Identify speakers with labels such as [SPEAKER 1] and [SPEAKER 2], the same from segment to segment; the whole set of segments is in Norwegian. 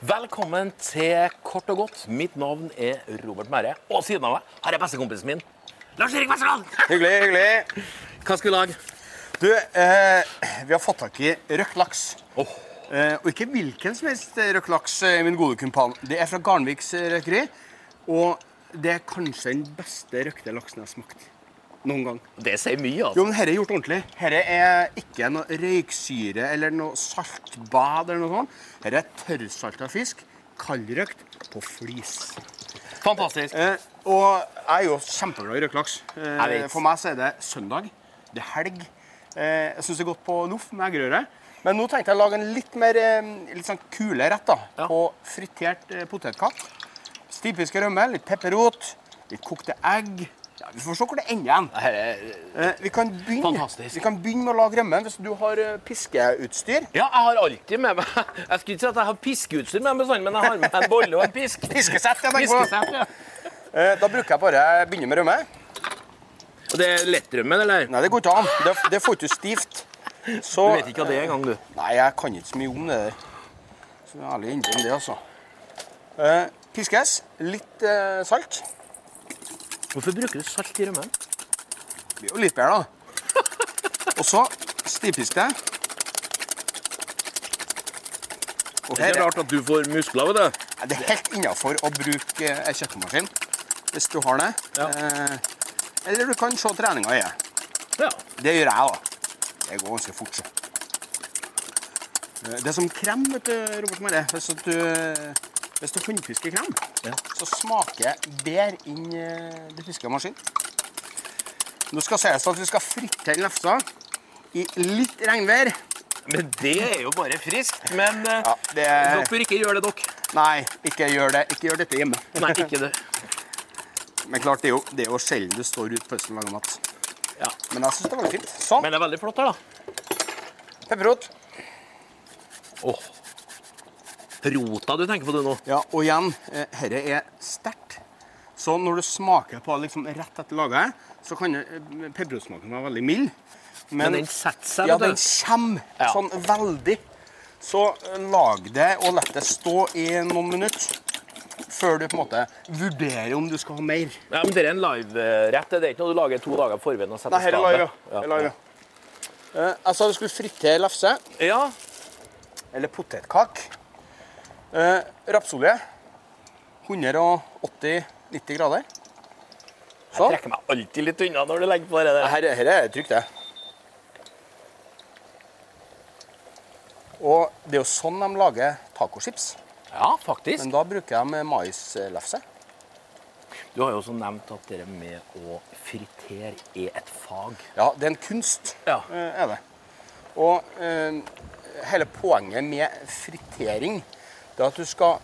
[SPEAKER 1] Velkommen til Kort og godt. Mitt navn er Robert Mære. Og siden av meg har jeg bestekompisen min, Lars-Erik Vesterland.
[SPEAKER 2] Hyggelig, hyggelig.
[SPEAKER 1] Hva skal vi lage?
[SPEAKER 2] Du, eh, vi har fått tak i røkt laks.
[SPEAKER 1] Åh,
[SPEAKER 2] Eh, og ikke hvilken som helst røkt laks, eh, min gode kumpan. Det er fra Garnviks eh, røkeri. Og det er kanskje den beste røkte laksen jeg har smakt noen gang.
[SPEAKER 1] det sier mye, altså.
[SPEAKER 2] Jo, men dette er gjort ordentlig. Dette er ikke noe røyksyre eller noe saltbad eller noe sånt. Dette er tørrsalta fisk, kaldrøkt, på flis.
[SPEAKER 1] Fantastisk.
[SPEAKER 2] Eh, og jeg er jo kjempeglad i røkelaks. Eh,
[SPEAKER 1] Jeg vet.
[SPEAKER 2] for meg så er det søndag. Det er helg. Eh, jeg syns det er godt på loff med eggerøre. Men nå tenkte jeg å lage en litt mer eh, litt sånn kule rett da,
[SPEAKER 1] Ja.
[SPEAKER 2] på fritert eh, potetkatt. Stivpiska rømme, litt pepperrot, litt kokte egg. Ja, vi får se hvor det ender hen.
[SPEAKER 1] Her er-
[SPEAKER 2] Eh, vi, kan begynne,
[SPEAKER 1] Fantastisk.
[SPEAKER 2] vi kan begynne med å lage rømmen hvis du har eh, piskeutstyr.
[SPEAKER 1] Ja, jeg har alltid med meg Jeg skulle ikke si at jeg har piskeutstyr med meg, bestandig, men jeg har med meg en bolle og en pisk.
[SPEAKER 2] Piskesett, jeg tenker på.
[SPEAKER 1] Piskesett, ja.
[SPEAKER 2] Eh, da bruker jeg bare begynne med rømme.
[SPEAKER 1] Og det er lettrømmen, eller?
[SPEAKER 2] Nei, det går ikke an. Det, det får ikke stivt. Så,
[SPEAKER 1] Du vet ikke hva det er engang, du.
[SPEAKER 2] Nei, jeg kan ikke så mye om det der. Så jeg er ærlig innrømme det, altså. Eh, piskes. Litt eh, salt.
[SPEAKER 1] Hvorfor bruker du salt i rømmen?
[SPEAKER 2] Det blir jo litt bedre, da. Og så stivpisk det. Og
[SPEAKER 1] Det er
[SPEAKER 2] her,
[SPEAKER 1] rart at du får muskler, vet du.
[SPEAKER 2] er det er helt innafor å bruke eh, en kjøkkenmaskin hvis du har det.
[SPEAKER 1] Ja.
[SPEAKER 2] Eh, eller du kan se treninga i det.
[SPEAKER 1] Ja.
[SPEAKER 2] Det gjør jeg, da. Det går ganske fort. Så. Eh, Det er som krem, vet du, Robert Marie. Hvis at du, eh, hvis du håndfisker krem,
[SPEAKER 1] Ja.
[SPEAKER 2] så smaker bedre inn eh, det fiska maskinen. Nå skal sies at vi skal fritelle lefsa i litt regnvær.
[SPEAKER 1] Men det er jo bare friskt. Men eh,
[SPEAKER 2] Ja, det er-
[SPEAKER 1] dere ikke gjør det, dere.
[SPEAKER 2] Nei, ikke gjør det. Ikke gjør dette hjemme.
[SPEAKER 1] Nei, ikke det.
[SPEAKER 2] Men klart, det er jo, det er jo sjelden du står ute på høsten og lager mat.
[SPEAKER 1] Ja.
[SPEAKER 2] Men jeg syns det var fint. Sånn.
[SPEAKER 1] Men det er veldig flott her, da.
[SPEAKER 2] Pepperrot.
[SPEAKER 1] Åh. Rota du tenker på du nå.
[SPEAKER 2] Ja, og igjen, eh, herre er sterkt. Så når du smaker på det liksom rett etter laget, så kan det- eh, pepperotsmaken være veldig mild.
[SPEAKER 1] Men den setter seg,
[SPEAKER 2] ja, den
[SPEAKER 1] vet du.
[SPEAKER 2] kommer
[SPEAKER 1] Ja.
[SPEAKER 2] sånn veldig. Så eh, lag det og la det stå i noen minutter før du på en måte vurderer om du skal ha mer.
[SPEAKER 1] Ja, men Det er en live-rett. Det er ikke noe du lager to dager i forveien og setter
[SPEAKER 2] Nei, her er
[SPEAKER 1] stabel.
[SPEAKER 2] lagra. Eh, Jeg sa du skulle fritere lefse.
[SPEAKER 1] Ja.
[SPEAKER 2] Eller potetkak. Eh, rapsolje. 180-90 grader.
[SPEAKER 1] Jeg
[SPEAKER 2] Sånn.
[SPEAKER 1] trekker meg alltid litt unna når du legger på det der.
[SPEAKER 2] Her, her er trygt, det. Og det er jo sånn de lager tacochips.
[SPEAKER 1] Ja, faktisk.
[SPEAKER 2] Men da bruker de maislefse.
[SPEAKER 1] Du har jo også nevnt at det med å fritere er et fag.
[SPEAKER 2] Ja, det er en kunst,
[SPEAKER 1] Ja.
[SPEAKER 2] eh, er det. Og eh, hele poenget med fritering, det er at du skal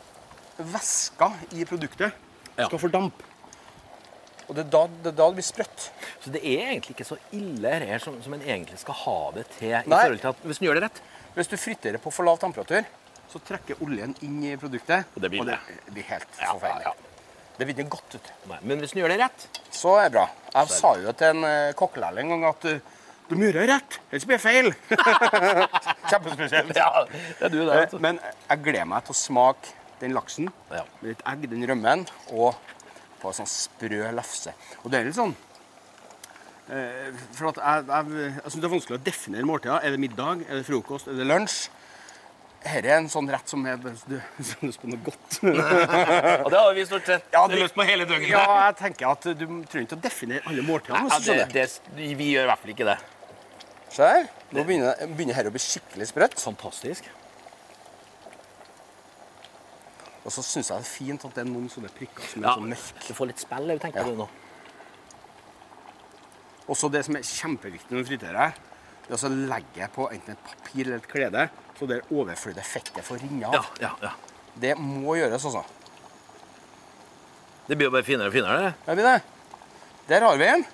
[SPEAKER 2] væska i produktet
[SPEAKER 1] Ja.
[SPEAKER 2] skal fordampe. Og det er da det, er da det blir sprøtt.
[SPEAKER 1] Så det er egentlig ikke så ille her som, som en egentlig skal ha det til. i
[SPEAKER 2] Nei.
[SPEAKER 1] forhold til at Hvis en gjør det rett.
[SPEAKER 2] Hvis du friterer på for lav temperatur, så trekker oljen inn i produktet.
[SPEAKER 1] Og det blir
[SPEAKER 2] det eh, blir helt
[SPEAKER 1] Ja,
[SPEAKER 2] forferdelig.
[SPEAKER 1] ja,
[SPEAKER 2] Det blir ikke godt ut.
[SPEAKER 1] Nei, men hvis en gjør det rett
[SPEAKER 2] Så er det bra. Jeg sa jo til en eh, kokkelærling en gang at eh, du må gjøre det rett, ellers blir det feil. Kjempespesielt.
[SPEAKER 1] Ja, det er du der.
[SPEAKER 2] Eh,
[SPEAKER 1] altså.
[SPEAKER 2] Men jeg gleder meg til å smake den laksen
[SPEAKER 1] Ja.
[SPEAKER 2] med litt egg, den rømmen, og på en sånn sprø lefse. Og det er litt sånn eh, For at jeg, jeg, jeg syns det er vanskelig å definere måltider. Er det middag? Er det frokost? Er det lunsj? Dette er en sånn rett som er Du har lyst på noe godt.
[SPEAKER 1] Og det har vi stort sett
[SPEAKER 2] Ja, det-
[SPEAKER 1] lyst på hele døgnet.
[SPEAKER 2] Ja, jeg tenker at du trenger ikke å definere alle
[SPEAKER 1] Ja,
[SPEAKER 2] måltidene. hvis du
[SPEAKER 1] altså, det,
[SPEAKER 2] skjønner.
[SPEAKER 1] det, vi gjør i hvert fall ikke det.
[SPEAKER 2] Se her. Nå begynner, begynner her å bli skikkelig sprøtt.
[SPEAKER 1] Fantastisk.
[SPEAKER 2] Og så syns jeg det er fint at det er noen sånne prikker som er
[SPEAKER 1] Ja,
[SPEAKER 2] sånn mørke.
[SPEAKER 1] du får litt spill, jeg tenker
[SPEAKER 2] Ja.
[SPEAKER 1] du nå.
[SPEAKER 2] Og så det som er kjempeviktig når du friterer, det er å så legge jeg på enten et papir eller et klede, så det overflødige fettet får renne av.
[SPEAKER 1] Ja, ja, ja.
[SPEAKER 2] Det må gjøres, altså.
[SPEAKER 1] Det blir jo bare finere og finere. det.
[SPEAKER 2] Er vi det? Der har vi en.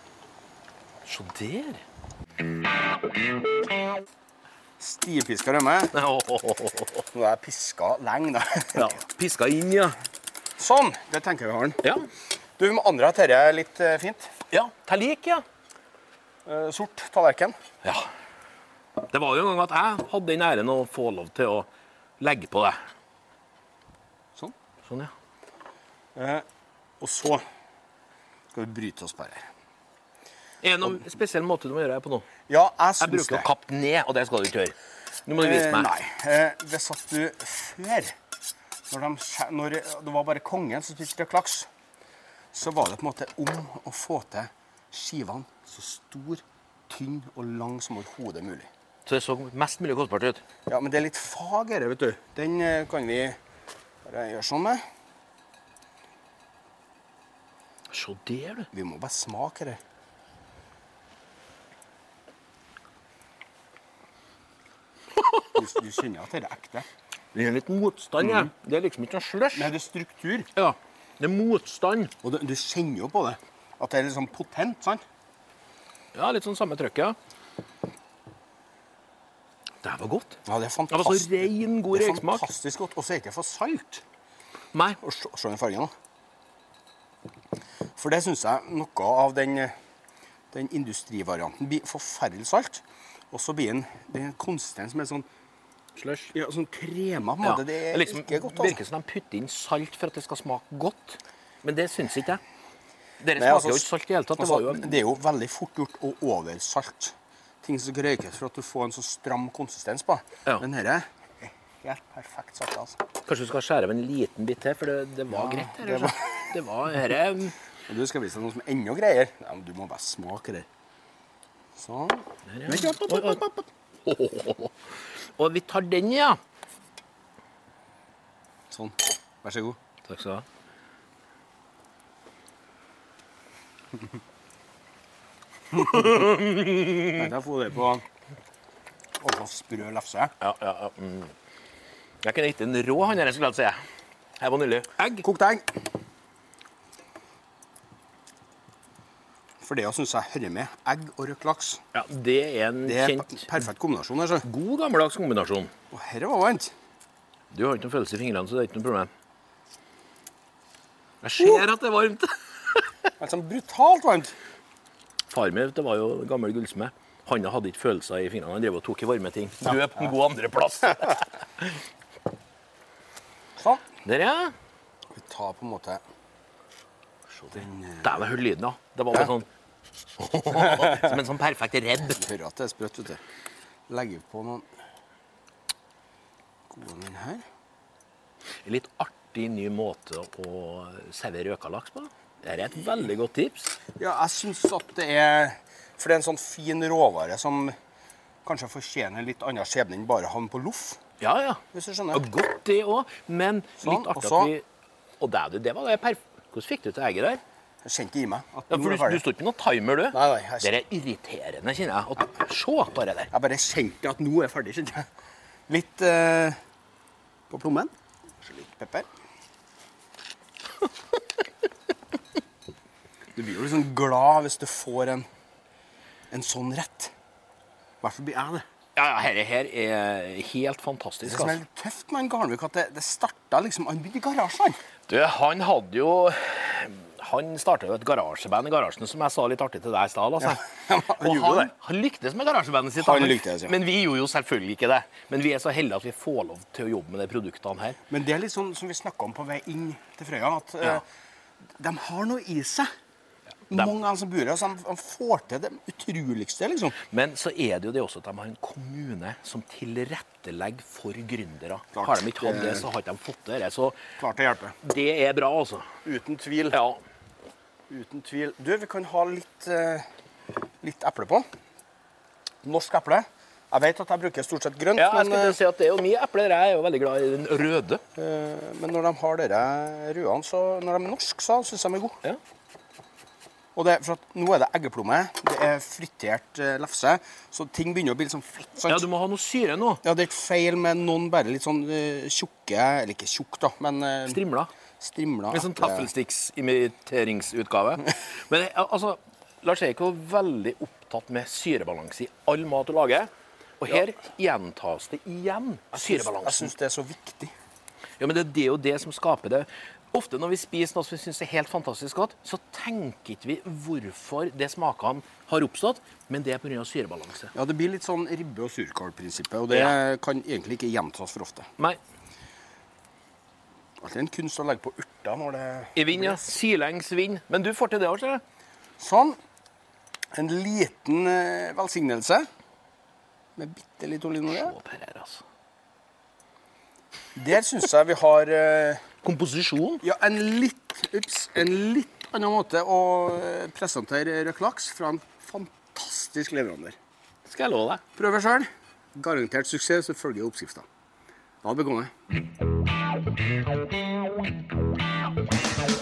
[SPEAKER 1] Se der.
[SPEAKER 2] Stivpiska rømme. Nå har jeg piska lenge, da.
[SPEAKER 1] Ja, Piska inn, ja.
[SPEAKER 2] Sånn. Det tenker jeg vi har den.
[SPEAKER 1] Ja,
[SPEAKER 2] Du, vi må andre ha dette litt eh, fint.
[SPEAKER 1] ja til lik, ja.
[SPEAKER 2] Eh, sort tallerken.
[SPEAKER 1] ja. Det var jo en gang at jeg hadde den æren å få lov til å legge på det.
[SPEAKER 2] Sånn.
[SPEAKER 1] Sånn, ja.
[SPEAKER 2] Eh, og så skal vi bryte oss bare.
[SPEAKER 1] Er det noen spesiell måte du må gjøre det på nå?
[SPEAKER 2] Ja, jeg
[SPEAKER 1] Jeg
[SPEAKER 2] syns
[SPEAKER 1] bruker
[SPEAKER 2] det.
[SPEAKER 1] å kappe ned, og det skal du ikke gjøre. Nå må du vise
[SPEAKER 2] Eh,
[SPEAKER 1] meg.
[SPEAKER 2] Nei. Eh, det satt du før. Når, de, skje- når det var bare kongen som spiste klaks, så var det på en måte om å få til skivene så stor, tynn og lang som overhodet mulig.
[SPEAKER 1] Så det så mest mulig kostbart ut.
[SPEAKER 2] Ja, men det er litt fag her, vet du. Den eh, kan vi bare gjøre sånn med.
[SPEAKER 1] Se der, du.
[SPEAKER 2] Vi må bare smake det. Du, du kjenner at det er ekte.
[SPEAKER 1] Det er litt motstand, ja. Det er liksom ikke noe slush.
[SPEAKER 2] Men det er struktur.
[SPEAKER 1] Ja. Det er motstand.
[SPEAKER 2] Og du, du kjenner jo på det. At det er litt sånn potent, sant?
[SPEAKER 1] Ja, litt sånn samme trøkk, ja. Det her var godt.
[SPEAKER 2] Ja, det er
[SPEAKER 1] Det var
[SPEAKER 2] fantastisk.
[SPEAKER 1] så ren, god
[SPEAKER 2] det er
[SPEAKER 1] røyksmak.
[SPEAKER 2] fantastisk godt. Og så er det ikke for salt.
[SPEAKER 1] Nei.
[SPEAKER 2] Og se se den fargen, da. For det syns jeg noe av den, den industrivarianten blir forferdelig salt. Og så blir den, den konsistens med sånn,
[SPEAKER 1] Slush.
[SPEAKER 2] ja, sånn krema på en
[SPEAKER 1] Ja.
[SPEAKER 2] måte. Det er
[SPEAKER 1] liksom,
[SPEAKER 2] ikke godt. altså.
[SPEAKER 1] virker som de putter inn salt for at det skal smake godt. Men det syns ikke jeg. Dere
[SPEAKER 2] Nei,
[SPEAKER 1] smaker
[SPEAKER 2] altså,
[SPEAKER 1] jo ikke salt i det hele tatt. Det
[SPEAKER 2] altså,
[SPEAKER 1] var jo en
[SPEAKER 2] det er jo veldig fort gjort å oversalte ting som skal røykes for at du får en så stram konsistens på.
[SPEAKER 1] Ja.
[SPEAKER 2] Men dette er helt perfekt salt. altså.
[SPEAKER 1] Kanskje du skal skjære av en liten bit til, for det, det var
[SPEAKER 2] Ja,
[SPEAKER 1] greit.
[SPEAKER 2] det
[SPEAKER 1] Det var, det var ehm, herre,
[SPEAKER 2] Og du skal vise deg noe som er enda greier. Ja, men du må bare smake det. Sånn. Men ikke- opp, opp, opp, opp, opp.
[SPEAKER 1] Og vi tar den, ja.
[SPEAKER 2] Sånn. Vær så god.
[SPEAKER 1] Takk skal du ha.
[SPEAKER 2] Nei, da får du det på Og så sprø lefse.
[SPEAKER 1] Ja, ja, ja. Mm. Jeg kunne gitt en rå han der, skulle jeg si. Her var nydelig. Egg.
[SPEAKER 2] Kokt egg. For det å synes jeg hører med. Egg og røkt laks.
[SPEAKER 1] Ja, det er en
[SPEAKER 2] Det er
[SPEAKER 1] kjent
[SPEAKER 2] per- perfekt kombinasjon. her, så.
[SPEAKER 1] god gammeldags kombinasjon.
[SPEAKER 2] Og dette var varmt.
[SPEAKER 1] Du har ikke noen følelse i fingrene, så det er ikke noe problem. Jeg ser at det er varmt.
[SPEAKER 2] Altså, brutalt varmt.
[SPEAKER 1] Far min vet du, var jo gammel gullsmed. Han hadde ikke følelser i fingrene. Han drev og tok i varme ting. Du er på en god andreplass.
[SPEAKER 2] Sånn.
[SPEAKER 1] Der, ja.
[SPEAKER 2] Vi tar på en måte den eh,
[SPEAKER 1] Dæven, jeg hørte lyden, da. Det var bare sånn Som en sånn perfekt redd.
[SPEAKER 2] Du hører at det er sprøtt, vet du. Legger vi på noen gode menn her.
[SPEAKER 1] Litt artig ny måte å servere røka laks på. Dette er et veldig godt tips.
[SPEAKER 2] Ja, jeg syns at det er For det er en sånn fin råvare som kanskje fortjener litt annen skjebne enn bare å havne på loff,
[SPEAKER 1] Ja, ja.
[SPEAKER 2] hvis du
[SPEAKER 1] Ja,
[SPEAKER 2] skjønner.
[SPEAKER 1] Godt, det òg. Men
[SPEAKER 2] Sånn,
[SPEAKER 1] litt artig
[SPEAKER 2] og så-
[SPEAKER 1] at vi Og det, er det, det var det perf... Hvordan fikk du til egget der?
[SPEAKER 2] Jeg kjente i meg at
[SPEAKER 1] Ja, for du,
[SPEAKER 2] nå er det
[SPEAKER 1] du
[SPEAKER 2] ferdig.
[SPEAKER 1] sto ikke noen timer, du.
[SPEAKER 2] Nei, nei, jeg-
[SPEAKER 1] Det er irriterende, kjenner jeg. At, se bare der.
[SPEAKER 2] Jeg bare kjente at nå er jeg ferdig, kjente jeg. Litt eh, på plommen. Kanskje litt pepper. Du blir jo liksom glad hvis du får en, en sånn rett. I hvert fall blir jeg det.
[SPEAKER 1] Ja, ja, dette her er helt fantastisk.
[SPEAKER 2] Det som er
[SPEAKER 1] Altså.
[SPEAKER 2] litt tøft med en Garnvik, at det, det starta liksom Han begynte i garasjen.
[SPEAKER 1] Du, han hadde jo Han starta jo et garasjeband i garasjen, som jeg sa litt artig til deg i stad. Altså.
[SPEAKER 2] Ja, han
[SPEAKER 1] Og
[SPEAKER 2] gjorde
[SPEAKER 1] han,
[SPEAKER 2] det.
[SPEAKER 1] han lyktes med garasjebandet sitt.
[SPEAKER 2] Han
[SPEAKER 1] da, men-
[SPEAKER 2] lyktes, ja.
[SPEAKER 1] Men vi gjorde jo selvfølgelig ikke det. Men vi er så heldige at vi får lov til å jobbe med de produktene her.
[SPEAKER 2] Men det er litt sånn som vi snakka om på vei inn til Frøya, at eh,
[SPEAKER 1] Ja.
[SPEAKER 2] de har noe i seg.
[SPEAKER 1] dem-
[SPEAKER 2] Mange av dem som bor her, så de, de får til det utroligste, liksom.
[SPEAKER 1] Men så er det jo det også at de har en kommune som tilrettelegger for gründere.
[SPEAKER 2] Klart.
[SPEAKER 1] Har de ikke hatt det,
[SPEAKER 2] Det-
[SPEAKER 1] så har ikke de fått det. Så
[SPEAKER 2] Klart å hjelpe.
[SPEAKER 1] det er bra, altså.
[SPEAKER 2] Uten tvil.
[SPEAKER 1] Ja.
[SPEAKER 2] Uten tvil. Du, vi kan ha litt, eh, litt eple på. Norsk eple. Jeg vet at jeg bruker stort sett grønt,
[SPEAKER 1] ja jeg
[SPEAKER 2] men,
[SPEAKER 1] skulle til å si at det er jo mye epler. Jeg er jo veldig glad i den røde.
[SPEAKER 2] eh, men når de har dere rødene, så når de er norske, så syns jeg de er gode.
[SPEAKER 1] Ja.
[SPEAKER 2] Og det, er for at nå er det eggeplomme, det er fritert eh, lefse, så ting begynner å bli litt sånn fett. sant?
[SPEAKER 1] ja, du må ha noe syre nå.
[SPEAKER 2] Ja, det er ikke feil med noen bare litt sånn eh, tjukke Eller ikke tjukk, da, men eh,
[SPEAKER 1] Strimla.
[SPEAKER 2] strimla.
[SPEAKER 1] Litt sånn
[SPEAKER 2] eple.
[SPEAKER 1] taffelsticks-imiteringsutgave. Men eh, altså, Lars Erik er jo veldig opptatt med syrebalanse i all mat du lager. Og her gjentas det igjen
[SPEAKER 2] Jeg
[SPEAKER 1] syrebalansen.
[SPEAKER 2] syns det er så viktig.
[SPEAKER 1] Ja, men det, det er jo det som skaper det. Ofte når vi spiser noe som vi syns er helt fantastisk godt, så tenker ikke vi hvorfor det smakene har oppstått, men det er pga. syrebalanse.
[SPEAKER 2] Ja, Det blir litt sånn ribbe- og surkålprinsippet, og det
[SPEAKER 1] Ja.
[SPEAKER 2] kan egentlig ikke gjentas for ofte.
[SPEAKER 1] Nei,
[SPEAKER 2] Alltid en kunst å legge på urter når det
[SPEAKER 1] i vind, ja. Sidelengs vind. Men du får til det òg, ser jeg.
[SPEAKER 2] Sånn. En liten eh, velsignelse med bitte litt olivenolje.
[SPEAKER 1] Å, Per her, altså.
[SPEAKER 2] Der syns jeg vi har eh,
[SPEAKER 1] Komposisjon.
[SPEAKER 2] ja, en litt ups, en litt annen måte å eh, presentere røkt laks fra en fantastisk leverandør.
[SPEAKER 1] Skal jeg love deg.
[SPEAKER 2] Prøver sjøl. Garantert suksess, så følger jeg oppskrifta. Da begynner jeg.